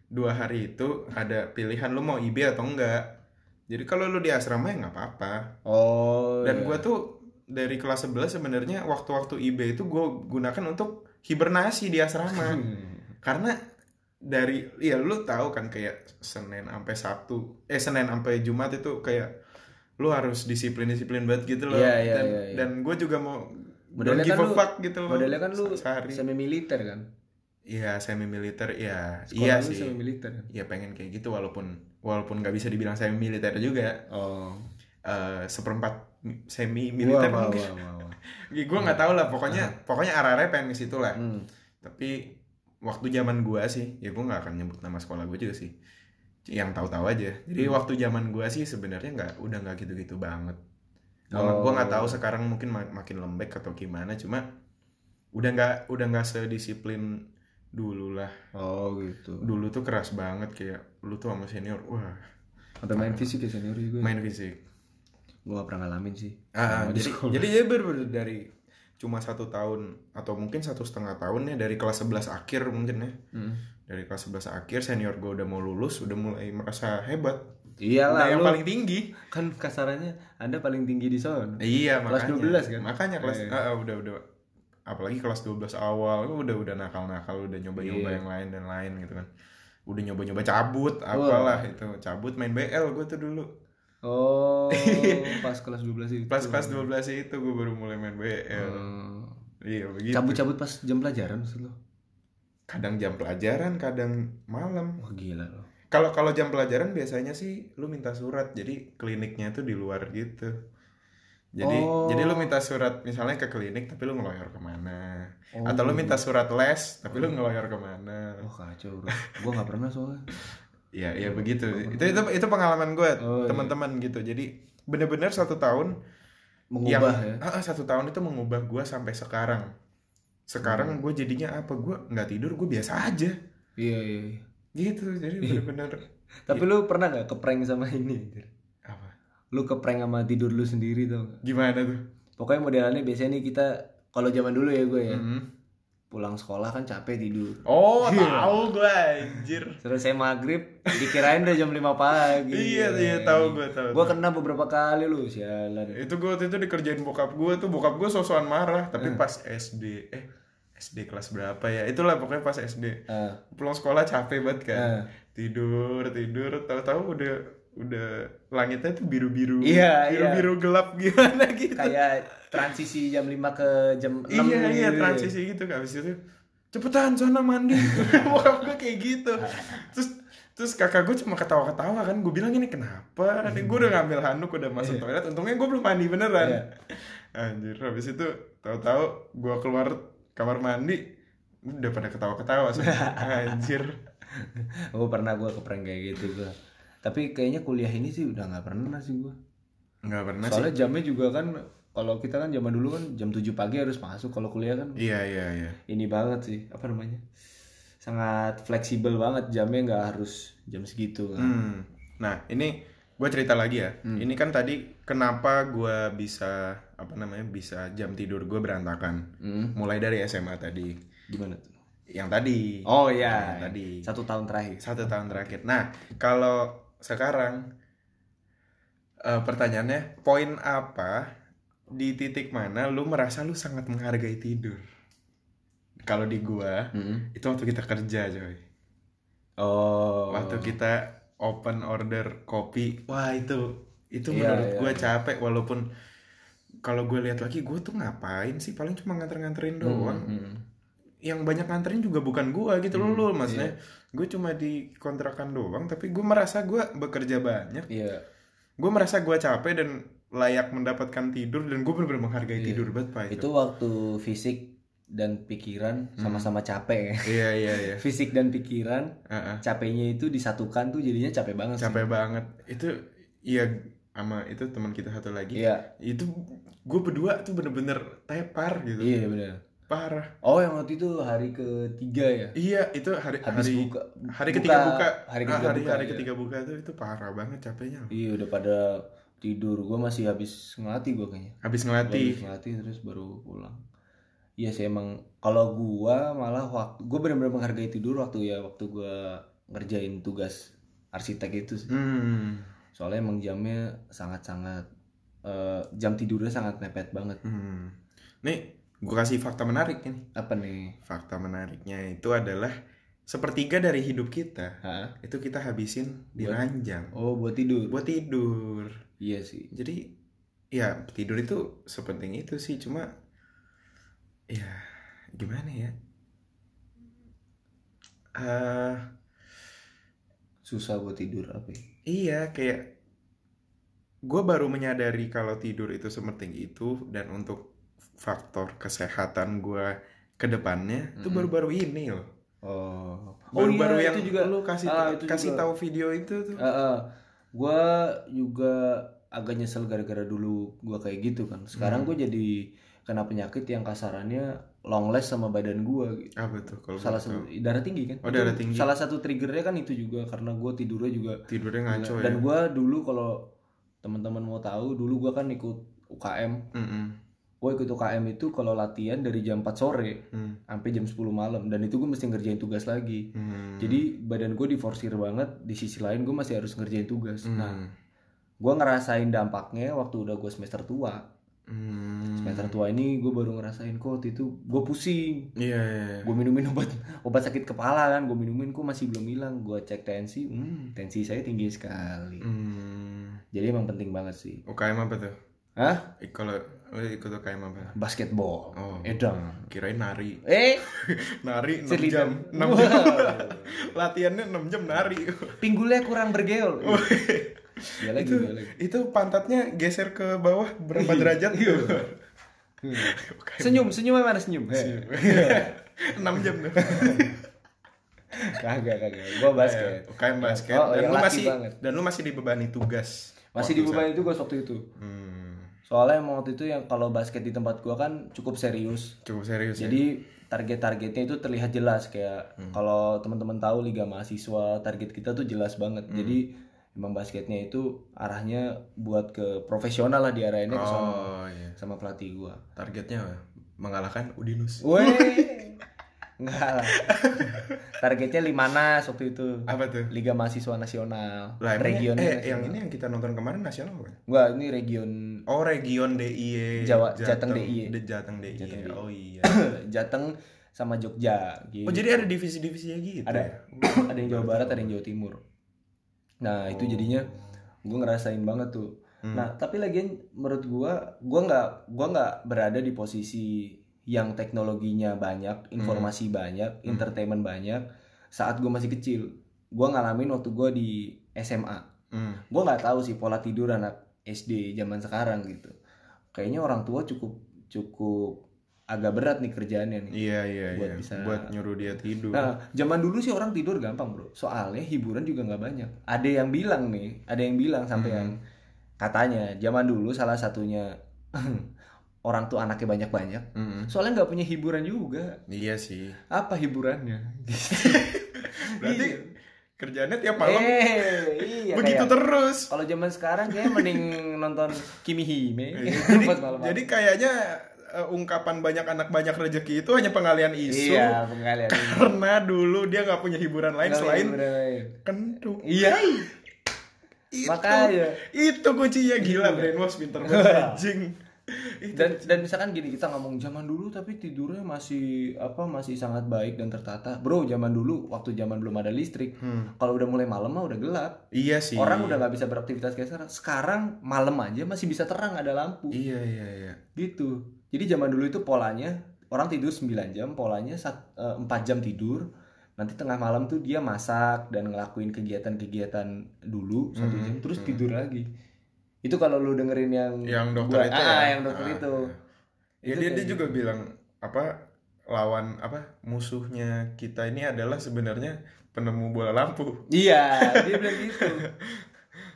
B: dua hari itu ada pilihan lu mau IB atau enggak jadi kalau lu di asrama ya nggak apa-apa
A: oh iya.
B: dan gue tuh dari kelas 11 sebenarnya waktu-waktu IB itu gue gunakan untuk hibernasi di
A: [LAUGHS]
B: asrama
A: Hmm.
B: karena dari ya lu tahu kan kayak Senin sampai Sabtu eh Senin sampai Jumat itu kayak lu harus disiplin-disiplin banget gitu loh
A: Iya, iya,
B: dan,
A: iya, iya.
B: dan gue juga mau
A: Modelnya
B: don't give
A: kan
B: a
A: lu-
B: fuck gitu loh
A: modelnya kan lu
B: sehari
A: semi militer kan
B: iya semi militer ya
A: Sekolah
B: iya
A: lu
B: sih
A: semi militer kan
B: ya pengen kayak gitu walaupun walaupun nggak bisa dibilang semi militer juga
A: oh
B: Eh, seperempat semi militer
A: wah, wah,
B: mungkin
A: wah, wah, wah.
B: gue nggak tahu lah pokoknya pokoknya arah-arah pengen ke situ lah
A: Hmm.
B: tapi waktu zaman gua sih ya gua nggak akan nyebut nama sekolah gua juga sih yang tahu-tahu aja jadi
A: Hmm.
B: waktu zaman gua sih sebenarnya nggak udah nggak gitu-gitu banget gua nggak- gua nggak
A: Oh.
B: tahu sekarang mungkin ma- makin lembek atau gimana cuma udah nggak udah nggak sedisiplin dulu lah
A: oh gitu
B: dulu tuh keras banget kayak lu tuh sama senior wah
A: Sampai main fisik ya senior juga.
B: main fisik
A: Gue gak pernah ngalamin sih.
B: ah,
A: Sama di
B: jadi
A: sekolah.
B: jadi ya bener-bener dari cuma satu tahun atau mungkin satu setengah tahun ya dari kelas 11 akhir mungkin ya
A: Mm.
B: dari kelas 11 akhir senior gue udah mau lulus udah mulai merasa hebat
A: Iyalah
B: udah Nah, yang
A: lu
B: paling tinggi
A: kan kasarannya Anda paling tinggi di sono.
B: iya
A: Kelas
B: makanya
A: 12 kan?
B: makanya kelas
A: Iya.
B: ah, ah, udah udah apalagi kelas 12 awal lu udah udah nakal nakal udah nyoba nyoba
A: Iya.
B: yang lain dan lain gitu kan udah nyoba nyoba cabut apalah itu cabut main BL gue tuh dulu
A: Oh,
B: [LAUGHS]
A: pas kelas 12 itu.
B: pas kelas 12 itu gue baru mulai main BL
A: Oh.
B: iya begitu
A: Cabut-cabut pas jam pelajaran maksud lo.
B: kadang jam pelajaran kadang malam
A: Wah gila lo.
B: kalau kalau jam pelajaran biasanya sih lu minta surat jadi kliniknya tuh di luar gitu Jadi
A: Oh.
B: jadi lu minta surat misalnya ke klinik tapi lu ngeloyor kemana?
A: Oh.
B: Atau lu minta surat les tapi lu ngeloyor kemana?
A: Oh kacau bro. Gue gak pernah soalnya.
B: Ya ya begitu. Itu itu itu pengalaman gue
A: iya. Oh, iya.
B: teman-teman gitu. Jadi bener-bener satu tahun yang
A: Mengubah ya.
B: Ah, ah, satu tahun itu mengubah gue sampai sekarang. Sekarang
A: Hmm.
B: gue jadinya apa? Gue nggak tidur gue biasa aja
A: Iya iya. iya.
B: gitu. Jadi bener-bener
A: Tapi
B: Iya.
A: lu pernah gak keprank sama ini? anjir?
B: apa?
A: Lu keprank sama tidur lu sendiri tau gak?
B: Gimana tuh?
A: Pokoknya modelannya biasanya nih kita kalau zaman dulu ya gue ya.
B: Mm.
A: Pulang sekolah kan capek tidur.
B: Oh tahu gue anjir.
A: Terus saya maghrib dikirain udah jam 5 pagi.
B: Iya iya tahu Iya. gue tahu.
A: Gue kena beberapa kali lu sialan.
B: itu gue waktu itu dikerjain bokap gue tuh bokap gue sosokan marah tapi pas SD eh SD kelas berapa ya itulah pokoknya pas SD
A: Ah.
B: pulang sekolah capek banget kan
A: Ah.
B: tidur tidur tahu-tahu udah udah langitnya tuh biru biru
A: Iya,
B: biru biru gelap gimana gitu
A: Kayak transisi jam 5 ke jam ya. 6
B: iya iya transisi gitu kan abis itu cepetan sana mandi [LAUGHS] bokap gue kayak gitu terus terus kakak gue cuma ketawa-ketawa kan gue bilang ini kenapa nanti gue udah ngambil handuk udah masuk toilet untungnya gue belum mandi beneran anjir habis itu tahu-tahu gue keluar kamar mandi udah pada ketawa-ketawa semua anjir
A: [LAUGHS] Gue Oh, pernah gue keprank kayak gitu gue. Tapi kayaknya kuliah ini sih udah nggak pernah sih gue.
B: nggak pernah sih
A: Soalnya jamnya juga kan kalau kita kan zaman dulu kan jam 7 pagi harus masuk kalau kuliah kan
B: iya iya iya
A: ini banget sih apa namanya sangat fleksibel banget jamnya nggak harus jam segitu kan
B: Hmm. Nah, ini gue cerita lagi ya. Ini kan tadi kenapa gue bisa apa namanya bisa jam tidur gue berantakan.
A: Hmm,
B: Mulai dari SMA tadi.
A: gimana tuh
B: Yang tadi.
A: oh
B: Yang
A: ya
B: iya, tadi.
A: satu tahun terakhir
B: Satu tahun terakhir. Nah, kalau sekarang eh, pertanyaannya, poin apa di titik mana lu merasa lu sangat menghargai tidur? Kalau di gua
A: Mm-mm.
B: itu waktu kita kerja, coy.
A: oh
B: waktu kita open order kopi wah itu itu
A: Iya,
B: menurut
A: iya.
B: gue capek walaupun kalau gue lihat lagi gue tuh ngapain sih paling cuma
A: Hmm,
B: nganter-nganterin doang
A: Mm-mm.
B: yang banyak nganterin juga bukan gue gitu loh
A: Hmm,
B: lu maksudnya gue cuma dikontrakan doang tapi gue merasa gue bekerja banyak
A: iya
B: gue merasa gue capek dan layak mendapatkan tidur dan gue bener-bener menghargai
A: Iya.
B: tidur banget pak itu Hmm.
A: itu waktu fisik dan pikiran sama-sama capek [LAUGHS]
B: iya iya iya
A: fisik dan pikiran
B: Heeh.
A: capeknya itu disatukan tuh jadinya capek banget sih.
B: capek banget itu iya sama itu teman kita satu lagi
A: iya
B: itu gue berdua tuh bener-bener tepar gitu
A: iya benar
B: parah
A: oh yang waktu itu hari ketiga ya
B: iya itu hari
A: habis
B: hari
A: buka
B: hari ketiga buka
A: hari
B: Ah,
A: ketiga
B: hari,
A: buka,
B: hari
A: iya.
B: ketiga buka itu itu parah banget capeknya
A: Iya udah pada tidur gue masih habis ngelatih gue kayaknya
B: habis
A: Gua habis
B: ngelatih
A: ngelatih terus baru pulang iya sih emang kalau gue malah waktu gue benar-benar menghargai tidur waktu ya waktu gue ngerjain tugas arsitek itu sih.
B: hmm.
A: soalnya emang jamnya sangat-sangat eh, jam tidurnya sangat nepet banget
B: hmm. nih gue kasih fakta menarik ini
A: apa nih
B: fakta menariknya itu adalah sepertiga dari hidup kita
A: Hah?
B: itu kita habisin di
A: Buat-
B: ranjang
A: oh buat tidur
B: buat tidur
A: iya sih
B: jadi ya tidur itu sepenting itu sih cuma ya gimana ya eh
A: susah buat tidur apa ya?
B: iya kayak gue baru menyadari kalau tidur itu sepenting itu dan untuk faktor kesehatan gue ke depannya itu
A: Mm-mm.
B: baru-baru ini loh
A: oh
B: baru-baru
A: iya,
B: yang
A: itu juga
B: lu kasih
A: Ah, itu
B: kasih
A: juga. Iya.
B: tahu video itu tuh
A: gue juga agak nyesel gara-gara dulu gue kayak gitu kan. Sekarang
B: Hmm.
A: gue jadi kena penyakit yang kasarannya longless sama badan gue. Gitu.
B: apa tuh kalau
A: Salah
B: boleh tahu?
A: satu darah tinggi kan?
B: Oh,
A: Itu
B: darah tinggi.
A: Salah satu triggernya kan itu juga karena gue tidurnya juga.
B: tidurnya ngaco ya
A: Iya. Dan gue dulu kalau teman-teman mau tahu, dulu gue kan ikut UKM.
B: Mm-mm.
A: Gue ikut UKM itu kalau latihan dari jam 4 sore
B: Mm.
A: sampai jam 10 malam. Dan itu gue mesti ngerjain tugas lagi.
B: Mm.
A: Jadi badan gue diforsir banget. Di sisi lain gue masih harus ngerjain tugas.
B: Mm.
A: Nah gue ngerasain dampaknya waktu udah gue semester tua
B: Mm.
A: semester tua ini gue baru ngerasain kok waktu itu gue pusing
B: Iya, iya, iya.
A: gue minumin obat [LAUGHS] obat sakit kepala kan gue minumin kok masih belum hilang gue cek tensi hmm, tensi saya tinggi sekali
B: Hmm,
A: jadi emang penting banget sih
B: UKM apa tuh?
A: Hah?
B: Ik- Kalau lu ikut UKM apa?
A: basketball
B: Oh.
A: edang
B: Kirain nari.
A: eh
B: Nari 6
A: Cheerleader.
B: jam. [LAUGHS] 6 jam. Latihannya 6 jam nari. [LAUGHS]
A: pinggulnya kurang bergeol Dia lagi,
B: Oh, iya. Itu-
A: dia lagi.
B: itu pantatnya geser ke bawah berapa
A: Iya.
B: derajat gitu
A: Hmm. Senyum, senyum mana senyum? Eh,
B: 6 jam tuh
A: [LAUGHS] Kagak, kagak. Gua [LAUGHS] basket.
B: UKM Eh, basket
A: Oh,
B: dan
A: yang
B: lu
A: laki
B: masih
A: banget.
B: dan lu masih dibebani tugas
A: Masih
B: waktu saat-
A: dibebani tugas waktu itu.
B: Hmm,
A: Soalnya emang waktu itu yang kalau basket di tempat gua kan cukup serius.
B: cukup serius Hmm. ya
A: Jadi target-targetnya itu terlihat jelas kayak kalau teman-teman tahu liga mahasiswa target kita tuh jelas banget.
B: Hmm.
A: Jadi emang basketnya itu arahnya buat ke profesional lah diarahinnya ke sono
B: oh iya
A: sama pelatih gua.
B: targetnya apa? mengalahkan Udinus [LAUGHS]
A: Weh. Enggak lah. Targetnya Limanas waktu itu.
B: apa tuh
A: Liga mahasiswa nasional.
B: lah emang-
A: regionnya.
B: eh,
A: nasional.
B: yang ini yang kita nonton kemarin nasional bukan
A: Enggak, ini region
B: Oh region DIY
A: Jawa- Jateng DIY.
B: De Jateng DIY.
A: Jateng E. DIY.
B: Oh iya.
A: [COUGHS] Jateng sama Jogja gitu.
B: Oh jadi ada divisi-divisinya gitu.
A: Ada.
B: ya?
A: ada yang Jawa Barat, ada yang Jawa Timur. Nah, itu jadinya gue ngerasain banget tuh.
B: Oh. Hmm.
A: Nah, tapi lagian menurut gue, gue nggak gua nggak berada di posisi yang teknologinya
B: Hmm.
A: banyak, informasi banyak, entertainment banyak. Saat gue masih kecil, gue ngalamin waktu gue di SMA.
B: Hmm.
A: Gue nggak tahu sih pola tidur anak SD zaman sekarang gitu. Kayaknya orang tua cukup cukup agak berat nih kerjaannya nih.
B: Iya iya
A: Buat
B: iya.
A: bisa-
B: Buat nyuruh dia tidur.
A: Nah, zaman dulu sih orang tidur gampang, Bro. Soalnya hiburan juga nggak banyak. Ada yang bilang nih, ada yang bilang sampai
B: Hmm.
A: yang katanya zaman dulu salah satunya [CLEARS THROAT] orang tuh anaknya banyak-banyak.
B: Mm-mm.
A: Soalnya nggak punya hiburan juga.
B: Hmm, Iya sih.
A: Apa hiburannya? [LAUGHS] Gitu.
B: Berarti
A: Iya.
B: kerjaannya tiap malam
A: Eh, iya.
B: begitu
A: kayak-
B: terus.
A: [LAUGHS] Kalau zaman sekarang kayak mending nonton Kimi Hime.
B: Iya, jadi, jadi kayaknya eh, ungkapan banyak anak banyak rezeki itu hanya pengalian isu
A: iya,
B: [LAUGHS]
A: pengalian.
B: karena dulu dia nggak punya hiburan lain selain
A: Hiburan lain.
B: kentung.
A: Iya.
B: Itu,
A: Makanya.
B: itu kuncinya gila brainwash pinter banget anjing. Itu
A: dan dan misalkan gini kita ngomong zaman dulu tapi tidurnya masih apa masih sangat baik dan tertata bro zaman dulu waktu zaman belum ada listrik kalau udah mulai malam mah udah gelap
B: Hmm. Iya sih.
A: orang udah nggak bisa beraktivitas kayak sekarang sekarang malam aja masih bisa terang ada lampu
B: Iya iya iya.
A: gitu jadi zaman dulu itu polanya orang tidur 9 jam polanya sat- eh, 4 jam tidur nanti tengah malam tuh dia masak dan ngelakuin kegiatan-kegiatan dulu satu
B: Hmm,
A: jam terus
B: hmm.
A: tidur lagi itu kalau lu dengerin yang
B: Yang dokter
A: gua-
B: itu.
A: ah,
B: ya?
A: yang dokter
B: Ah,
A: itu
B: ah. Ya
A: Itu
B: dia
A: kayak
B: dia
A: gitu.
B: juga bilang apa lawan apa musuhnya kita ini adalah sebenarnya penemu bola lampu. [LAUGHS]
A: Iya, dia bilang gitu.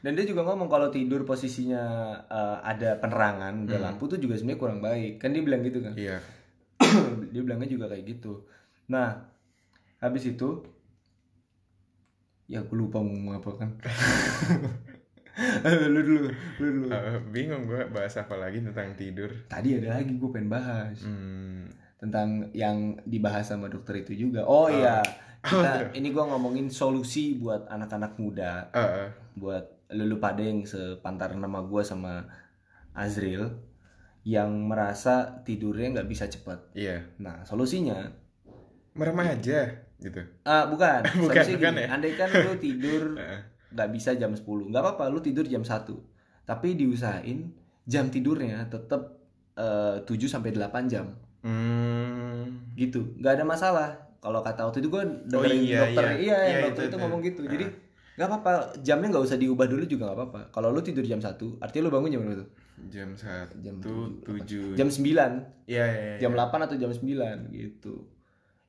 A: Dan dia juga ngomong kalau tidur posisinya eh, ada penerangan, ada
B: Hmm.
A: lampu tuh juga sebenarnya kurang baik. Kan dia bilang gitu
B: [COUGHS]
A: kan.
B: Iya.
A: dia bilangnya juga kayak gitu. Nah, habis itu ya gue lupa mau ngomong apa
B: [LAUGHS]
A: kan. lu dulu, lu dulu.
B: Eh, bingung gua bahas apa lagi tentang tidur.
A: Tadi ada lagi gue pengen bahas
B: Hmm.
A: tentang yang dibahas sama dokter itu juga. Oh
B: Ah.
A: iya, kita
B: [LAUGHS]
A: ini gua ngomongin solusi buat anak-anak muda.
B: eh, eh.
A: buat lulu pada yang sepantaran nama gue sama Azril yang merasa tidurnya nggak bisa cepat.
B: iya.
A: Nah solusinya
B: Merem aja gitu.
A: ah bukan,
B: [LAUGHS] Bukan,
A: Solusinya
B: bukan ya?
A: Andai kan
B: [LAUGHS]
A: lu tidur
B: Heeh.
A: nggak bisa jam 10 nggak apa-apa lu tidur jam 1 tapi diusahain jam tidurnya tetap 7 sampai 8 jam
B: Hmm.
A: gitu nggak ada masalah kalau kata waktu itu gue dengerin
B: iya,
A: dokter
B: iya.
A: iya, yang
B: Iya,
A: dokter
B: itu-
A: itu,
B: itu.
A: ngomong gitu
B: Ah.
A: jadi nggak apa-apa jamnya nggak usah diubah dulu juga nggak apa-apa kalau lu tidur jam 1 artinya lu bangun jam berapa tuh?
B: Jam satu
A: Jam
B: tujuh.
A: jam 9
B: Iya iya. iya.
A: jam 8 atau jam 9 gitu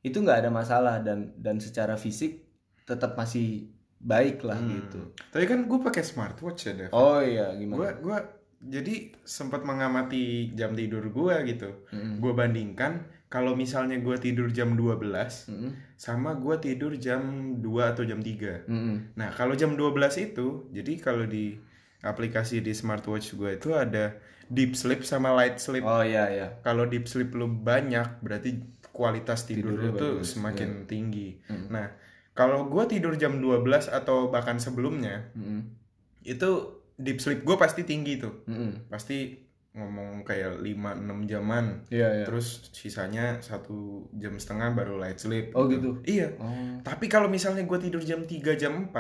A: itu nggak ada masalah dan dan secara fisik tetap masih baik lah
B: Hmm.
A: gitu
B: Tapi kan gue pakai smartwatch ya, Dev.
A: oh iya
B: Gua
A: gimana
B: gua jadi sempat mengamati jam tidur gua gitu.
A: Mm-mm.
B: Gua bandingkan kalau misalnya gua tidur jam 12
A: Mm-mm.
B: sama gua tidur jam 2 atau jam 3.
A: Mm-mm.
B: Nah, kalau jam 12 itu jadi kalau di aplikasi di smartwatch gua itu ada deep sleep sama light sleep.
A: oh iya iya
B: Kalau deep sleep lu banyak berarti kualitas tidur
A: Tidurnya
B: lu tuh
A: bagus,
B: semakin tinggi.
A: Mm.
B: Nah, kalau gua tidur jam 12 atau bahkan sebelumnya
A: Mm-mm.
B: itu deep sleep gua pasti tinggi tuh
A: Mm-mm.
B: pasti ngomong kayak 5-6 jaman
A: iya iya
B: terus sisanya satu jam setengah baru light sleep
A: Oh,
B: iya
A: oh
B: tapi kalau misalnya gue tidur jam 3 jam 4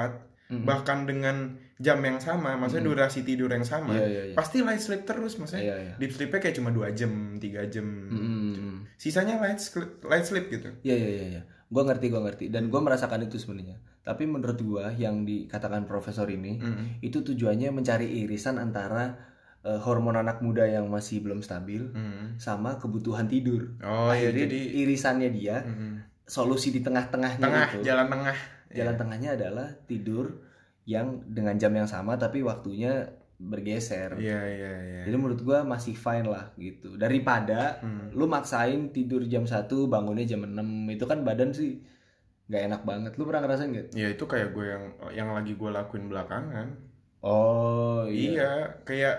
A: Mm-mm.
B: bahkan dengan jam yang sama maksudnya durasi tidur yang sama
A: Hmm. Iya, iya, iya.
B: pasti Hmm. light sleep terus maksudnya
A: Iya, Hmm. iya.
B: deep sleepnya kayak cuma 2 jam 3 jam
A: Mm-mm.
B: sisanya light sleep, light sleep gitu
A: Iya iya iya. Ya. Gue ngerti, gue ngerti. Dan gue merasakan itu sebenarnya. Tapi menurut gue yang dikatakan profesor ini
B: Mm-mm.
A: itu tujuannya mencari irisan antara eh, hormon anak muda yang masih belum stabil
B: Mm.
A: sama kebutuhan tidur.
B: Oh iya
A: Akhirnya
B: jadi
A: irisannya dia
B: mm,
A: solusi di tengah-tengahnya
B: tengah
A: itu.
B: jalan iya. tengah.
A: Gitu. Jalan tengahnya adalah tidur yang dengan jam yang sama tapi waktunya bergeser.
B: Iya iya iya.
A: Jadi menurut gua masih fine lah gitu. Daripada
B: Mm.
A: lu maksain tidur jam 1 bangunnya jam 6 itu kan badan sih nggak enak banget. Lu pernah ngerasain gak?
B: Ya itu kayak gue yang yang lagi gue lakuin belakangan.
A: Oh iya.
B: Iya, kayak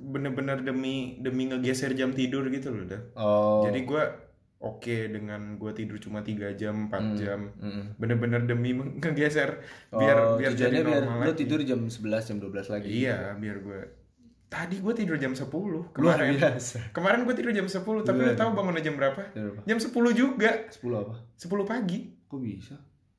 B: bener-bener demi demi ngegeser jam tidur gitu loh dah.
A: Oh.
B: Jadi gue oke dengan gue tidur cuma 3 jam, 4
A: Mm.
B: jam.
A: Mm-mm.
B: Bener-bener demi ngegeser
A: Oh,
B: biar biar jadi
A: tujuannya biar
B: normal
A: lu
B: lagi.
A: tidur jam 11 jam 12 lagi.
B: Iya, biar gue Tadi gue tidur jam 10
A: Luar
B: kemarin.
A: [LAUGHS] biasa.
B: Kemarin gue tidur jam 10, tapi
A: Luar
B: lu tahu bangunnya jam berapa?
A: Tidur apa?
B: Jam 10 juga,
A: 10 apa?
B: 10 pagi.
A: Kok bisa?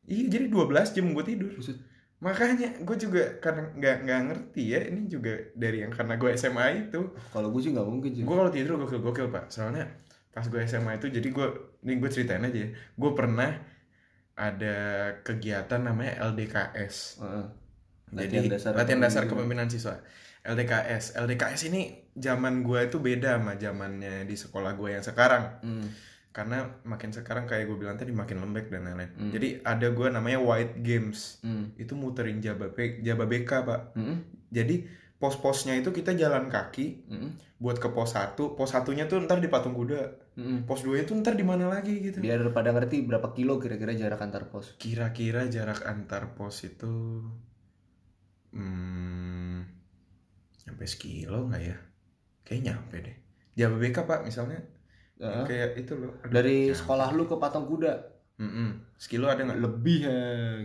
B: Iya, jadi 12 jam gue tidur.
A: Buset.
B: Makanya gue juga karena nggak nggak ngerti ya, ini juga dari yang karena gue SMA itu.
A: Kalau gue sih nggak mungkin sih.
B: Gue kalau tidur gokil-gokil pak Soalnya pas gue SMA itu jadi gue Ini gue ceritain aja ya Gue pernah ada kegiatan namanya LDKS
A: Heeh.
B: Jadi
A: Latihan dasar
B: latihan dasar
A: kepemimpinan.
B: kepemimpinan siswa LDKS LDKS ini zaman gue itu beda sama zamannya di sekolah gue yang sekarang
A: Hmm.
B: Karena makin sekarang kayak gue bilang tadi makin lembek dan lain-lain
A: Hmm.
B: Jadi ada gue namanya White Games
A: Hmm.
B: Itu muterin Jababeka Jababeka pak
A: Mm-mm.
B: Jadi pos-posnya itu kita jalan kaki
A: Mm-mm.
B: buat ke pos 1 Pos satunya tuh ntar di patung kuda
A: Mm-mm.
B: pos 2 itu ntar di mana lagi
A: hmm.
B: gitu
A: Biar pada ngerti berapa kilo kira-kira jarak antar pos.
B: kira-kira jarak antar pos itu hmm, sampai sekilo nggak ya kayak nyampe deh di ABBK pak misalnya
A: Heeh.
B: kayak itu loh Aduh,
A: Dari
B: nyampe.
A: sekolah lu ke patung kuda
B: Mm-mm. sekilo ada Iya. nggak
A: lebih ya.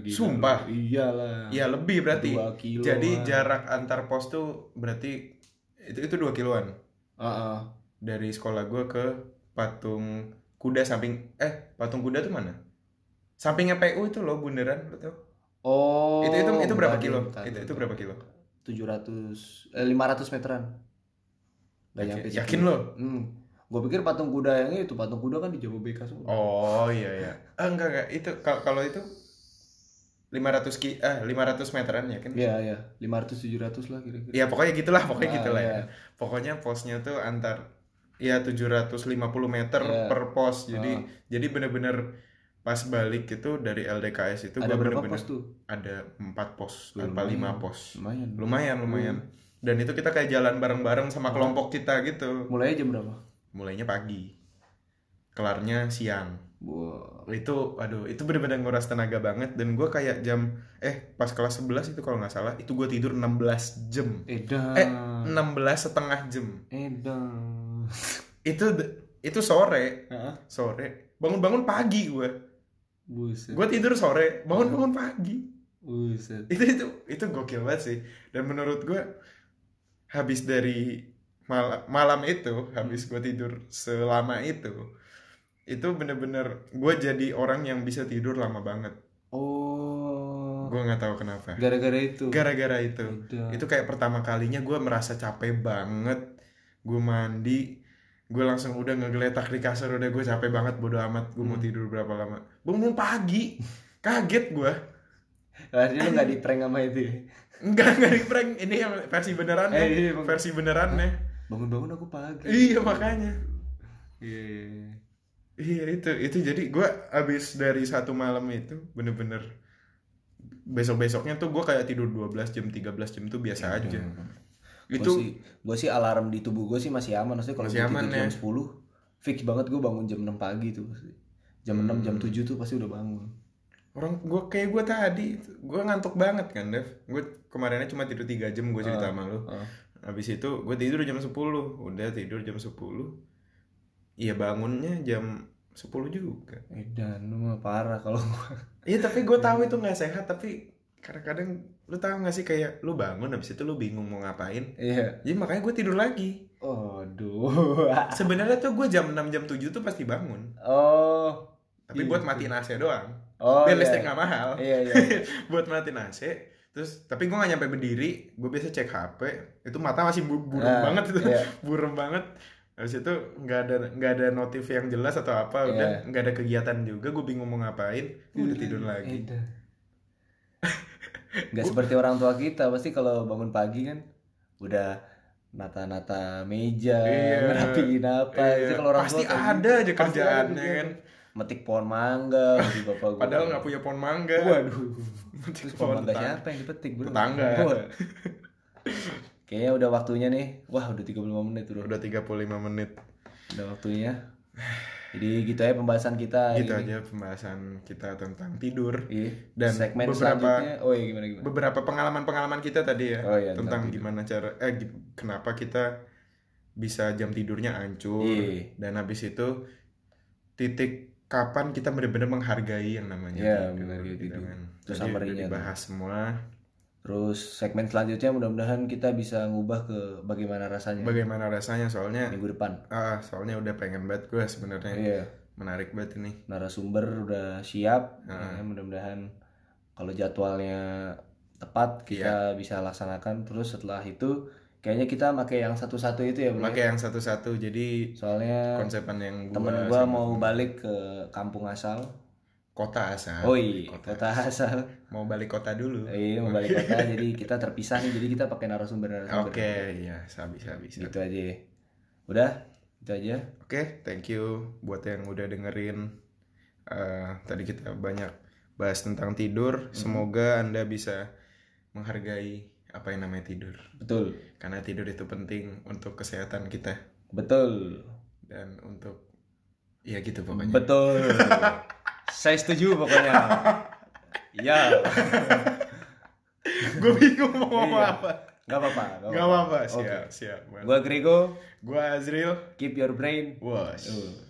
A: gila.
B: Sumpah.
A: Iyalah.
B: Iya lebih berarti
A: Dua kilo.
B: jadi
A: lah.
B: jarak antar pos tuh berarti itu itu dua kiloan
A: Heeh.
B: dari sekolah gue ke patung kuda samping eh patung kuda tuh mana sampingnya PU itu loh bundaran lo tau
A: Oh.
B: itu itu itu berapa
A: bentar,
B: kilo?
A: bentar,
B: Itu
A: bentar.
B: itu berapa kilo?
A: 700 eh 500 meteran. Gak
B: Yakin,
A: nyampe
B: yakin
A: segitu.
B: lo?
A: Hmm. Gue pikir patung kuda yang itu patung kuda kan di Jababeka semua.
B: Oh iya iya. Ah, enggak enggak itu kalau kalau itu 500 ki eh 500 meteran yakin?
A: Iya, iya. 500 700 lah kira-kira.
B: Ya pokoknya gitulah, pokoknya
A: Ah,
B: gitulah
A: iya.
B: ya. Pokoknya posnya tuh antar ya 750 meter
A: Iya.
B: per pos. Jadi
A: Ah.
B: jadi bener-bener pas balik itu dari LDKS itu
A: iya. Ada
B: gua
A: berapa
B: bener-bener
A: pos tuh?
B: ada 4 pos,
A: Lumayan. Hmm.
B: apa 5 pos.
A: Lumayan.
B: Lumayan, lumayan. Dan itu kita kayak jalan bareng-bareng sama
A: Hmm.
B: kelompok kita gitu.
A: Mulainya jam berapa?
B: Mulainya pagi. Kelarnya siang.
A: Wah.
B: itu aduh itu bener-bener nguras tenaga banget dan gue kayak jam eh pas kelas 11 itu kalau nggak salah itu gue tidur 16 jam
A: Edan.
B: Eh, 16 setengah jam
A: Edan.
B: itu itu sore
A: Heeh.
B: sore bangun-bangun pagi gue
A: Buset.
B: gue tidur sore bangun-bangun pagi
A: Buset.
B: itu itu itu gokil banget sih dan menurut gue habis dari malam malam itu habis gue tidur selama itu itu bener-bener gue jadi orang yang bisa tidur lama banget
A: Oh.
B: gue nggak tahu kenapa
A: Gara-gara itu.
B: gara-gara itu
A: Edan.
B: itu kayak pertama kalinya gue merasa capek banget gue mandi gue langsung udah ngegeletak di kasur udah gue capek banget bodo amat gue
A: Hmm.
B: mau tidur berapa lama bangun pagi kaget gue
A: Akhirnya lu gak di prank sama itu ya?
B: enggak enggak di prank ini yang versi beneran
A: Eh, iya, Bang.
B: versi beneran ya
A: Bangun-bangun aku pagi.
B: iya makanya
A: Iya, iya, iya.
B: iya itu itu jadi gue abis dari satu malam itu bener-bener besok besoknya tuh gue kayak tidur 12 jam 13 jam tuh
A: Iya,
B: biasa aja
A: Itu
B: itu
A: gue sih alarm di tubuh gue sih masih aman maksudnya kalau
B: Gitu. Masih
A: gue
B: aman,
A: tidur jam
B: ya.
A: 10 fix banget gue bangun jam 6 pagi tuh pasti. Jam 6
B: Hmm.
A: jam 7 tuh pasti udah bangun.
B: Orang gue kayak gue tadi, gue ngantuk banget kan, Dev. Gue kemarinnya cuma tidur 3 jam gue cerita sama lu.
A: ah.
B: Habis itu gue tidur jam 10, udah tidur jam 10. Iya bangunnya jam 10 juga.
A: Edan lu mah parah kalau [LAUGHS] gue.
B: Iya tapi gue
A: Hmm.
B: tahu itu nggak sehat, tapi kadang-kadang lu tahu nggak sih kayak lu bangun habis itu lu bingung mau ngapain.
A: Iya.
B: Jadi makanya gue tidur lagi.
A: Aduh. [LAUGHS]
B: Sebenarnya tuh gue jam 6 jam 7 tuh pasti bangun.
A: oh.
B: Tapi
A: Iya,
B: buat
A: iya.
B: matiin AC doang.
A: Oh.
B: Biar
A: iya.
B: listrik nggak mahal.
A: Iya,
B: [LAUGHS]
A: iya.
B: buat matiin AC terus tapi gue gak nyampe berdiri gue biasa cek HP itu mata masih bu- buram
A: Ah,
B: [LAUGHS] banget itu
A: iya.
B: buram banget Habis itu nggak ada nggak ada notif yang jelas atau apa, udah
A: Iya.
B: nggak ada kegiatan juga, gue bingung mau ngapain,
A: Hmm.
B: udah tidur lagi. [LAUGHS]
A: Eda. Nggak seperti orang tua kita pasti kalau bangun pagi kan udah nata-nata meja,
B: Iya.
A: ngerapiin apa. Itu
B: Iya,
A: kalau orang
B: pasti
A: tua kayak
B: ada
A: gitu.
B: aja
A: Pasti
B: kerjaannya
A: ada
B: kan.
A: kerjaan. Metik pohon mangga bagi bapak gue.
B: Padahal nggak punya pohon mangga.
A: Waduh.
B: Metik
A: Terus
B: [LAUGHS] pohon
A: pohon mangga
B: tetangga.
A: siapa yang dipetik, Bro?
B: Tetangga.
A: Wah. Kayaknya udah waktunya nih. Wah, udah 35 menit, Bro.
B: Udah 35 menit.
A: Udah waktunya. Jadi gitu aja pembahasan kita hari
B: Gitu
A: ini.
B: aja pembahasan kita tentang tidur.
A: Iya.
B: Dan
A: segmen
B: beberapa-
A: selanjutnya. Oh, iya gimana gimana?
B: Beberapa pengalaman-pengalaman kita tadi ya
A: Oh, iya, tentang
B: tentang gimana cara eh gi- kenapa kita bisa jam tidurnya hancur
A: Iya.
B: dan habis itu titik kapan kita benar-benar menghargai yang namanya
A: Iya,
B: tidur,
A: menghargai
B: gitu
A: tidur.
B: kan.
A: Itu
B: Tadi udah
A: summary-nya tuh.
B: dibahas semua
A: Terus segmen selanjutnya mudah-mudahan kita bisa ngubah ke bagaimana rasanya
B: bagaimana rasanya soalnya
A: minggu depan.
B: ah soalnya udah pengen banget gue sebenarnya
A: Iya,
B: menarik banget ini
A: narasumber udah siap.
B: Heeh.
A: Ya, mudah-mudahan kalau jadwalnya tepat kita
B: Iya.
A: bisa laksanakan. Terus setelah itu kayaknya kita pakai yang satu-satu itu ya, Bro.
B: pakai yang satu-satu jadi
A: Soalnya
B: konsepan yang
A: Iya.
B: gua
A: temen gua
B: sama
A: mau
B: temen-
A: balik ke kampung asal.
B: kota asal
A: Oh iya,
B: Ah, Kota.
A: kota asal.
B: mau balik kota dulu
A: Iya, mau balik
B: [LAUGHS]
A: kota jadi kita terpisah nih. Jadi kita pakai narasumber-narasumber.
B: oke iya sabi sabi sabi.
A: Gitu aja. ya. Udah, itu aja.
B: oke thank you buat yang udah dengerin Eh, tadi kita banyak bahas tentang tidur
A: Mm-hmm.
B: semoga anda bisa menghargai apa yang namanya tidur
A: Betul.
B: karena tidur itu penting untuk kesehatan kita
A: Betul.
B: dan untuk ya gitu pokoknya [LAUGHS]
A: Betul. Saya setuju pokoknya. Iya.
B: gue bingung mau ngomong
A: Iya.
B: apa
A: Gak apa-apa.
B: nggak apa-apa siap
A: Oke.
B: siap
A: Gua Grego,
B: gue Azril
A: keep your brain.
B: wash
A: Uh.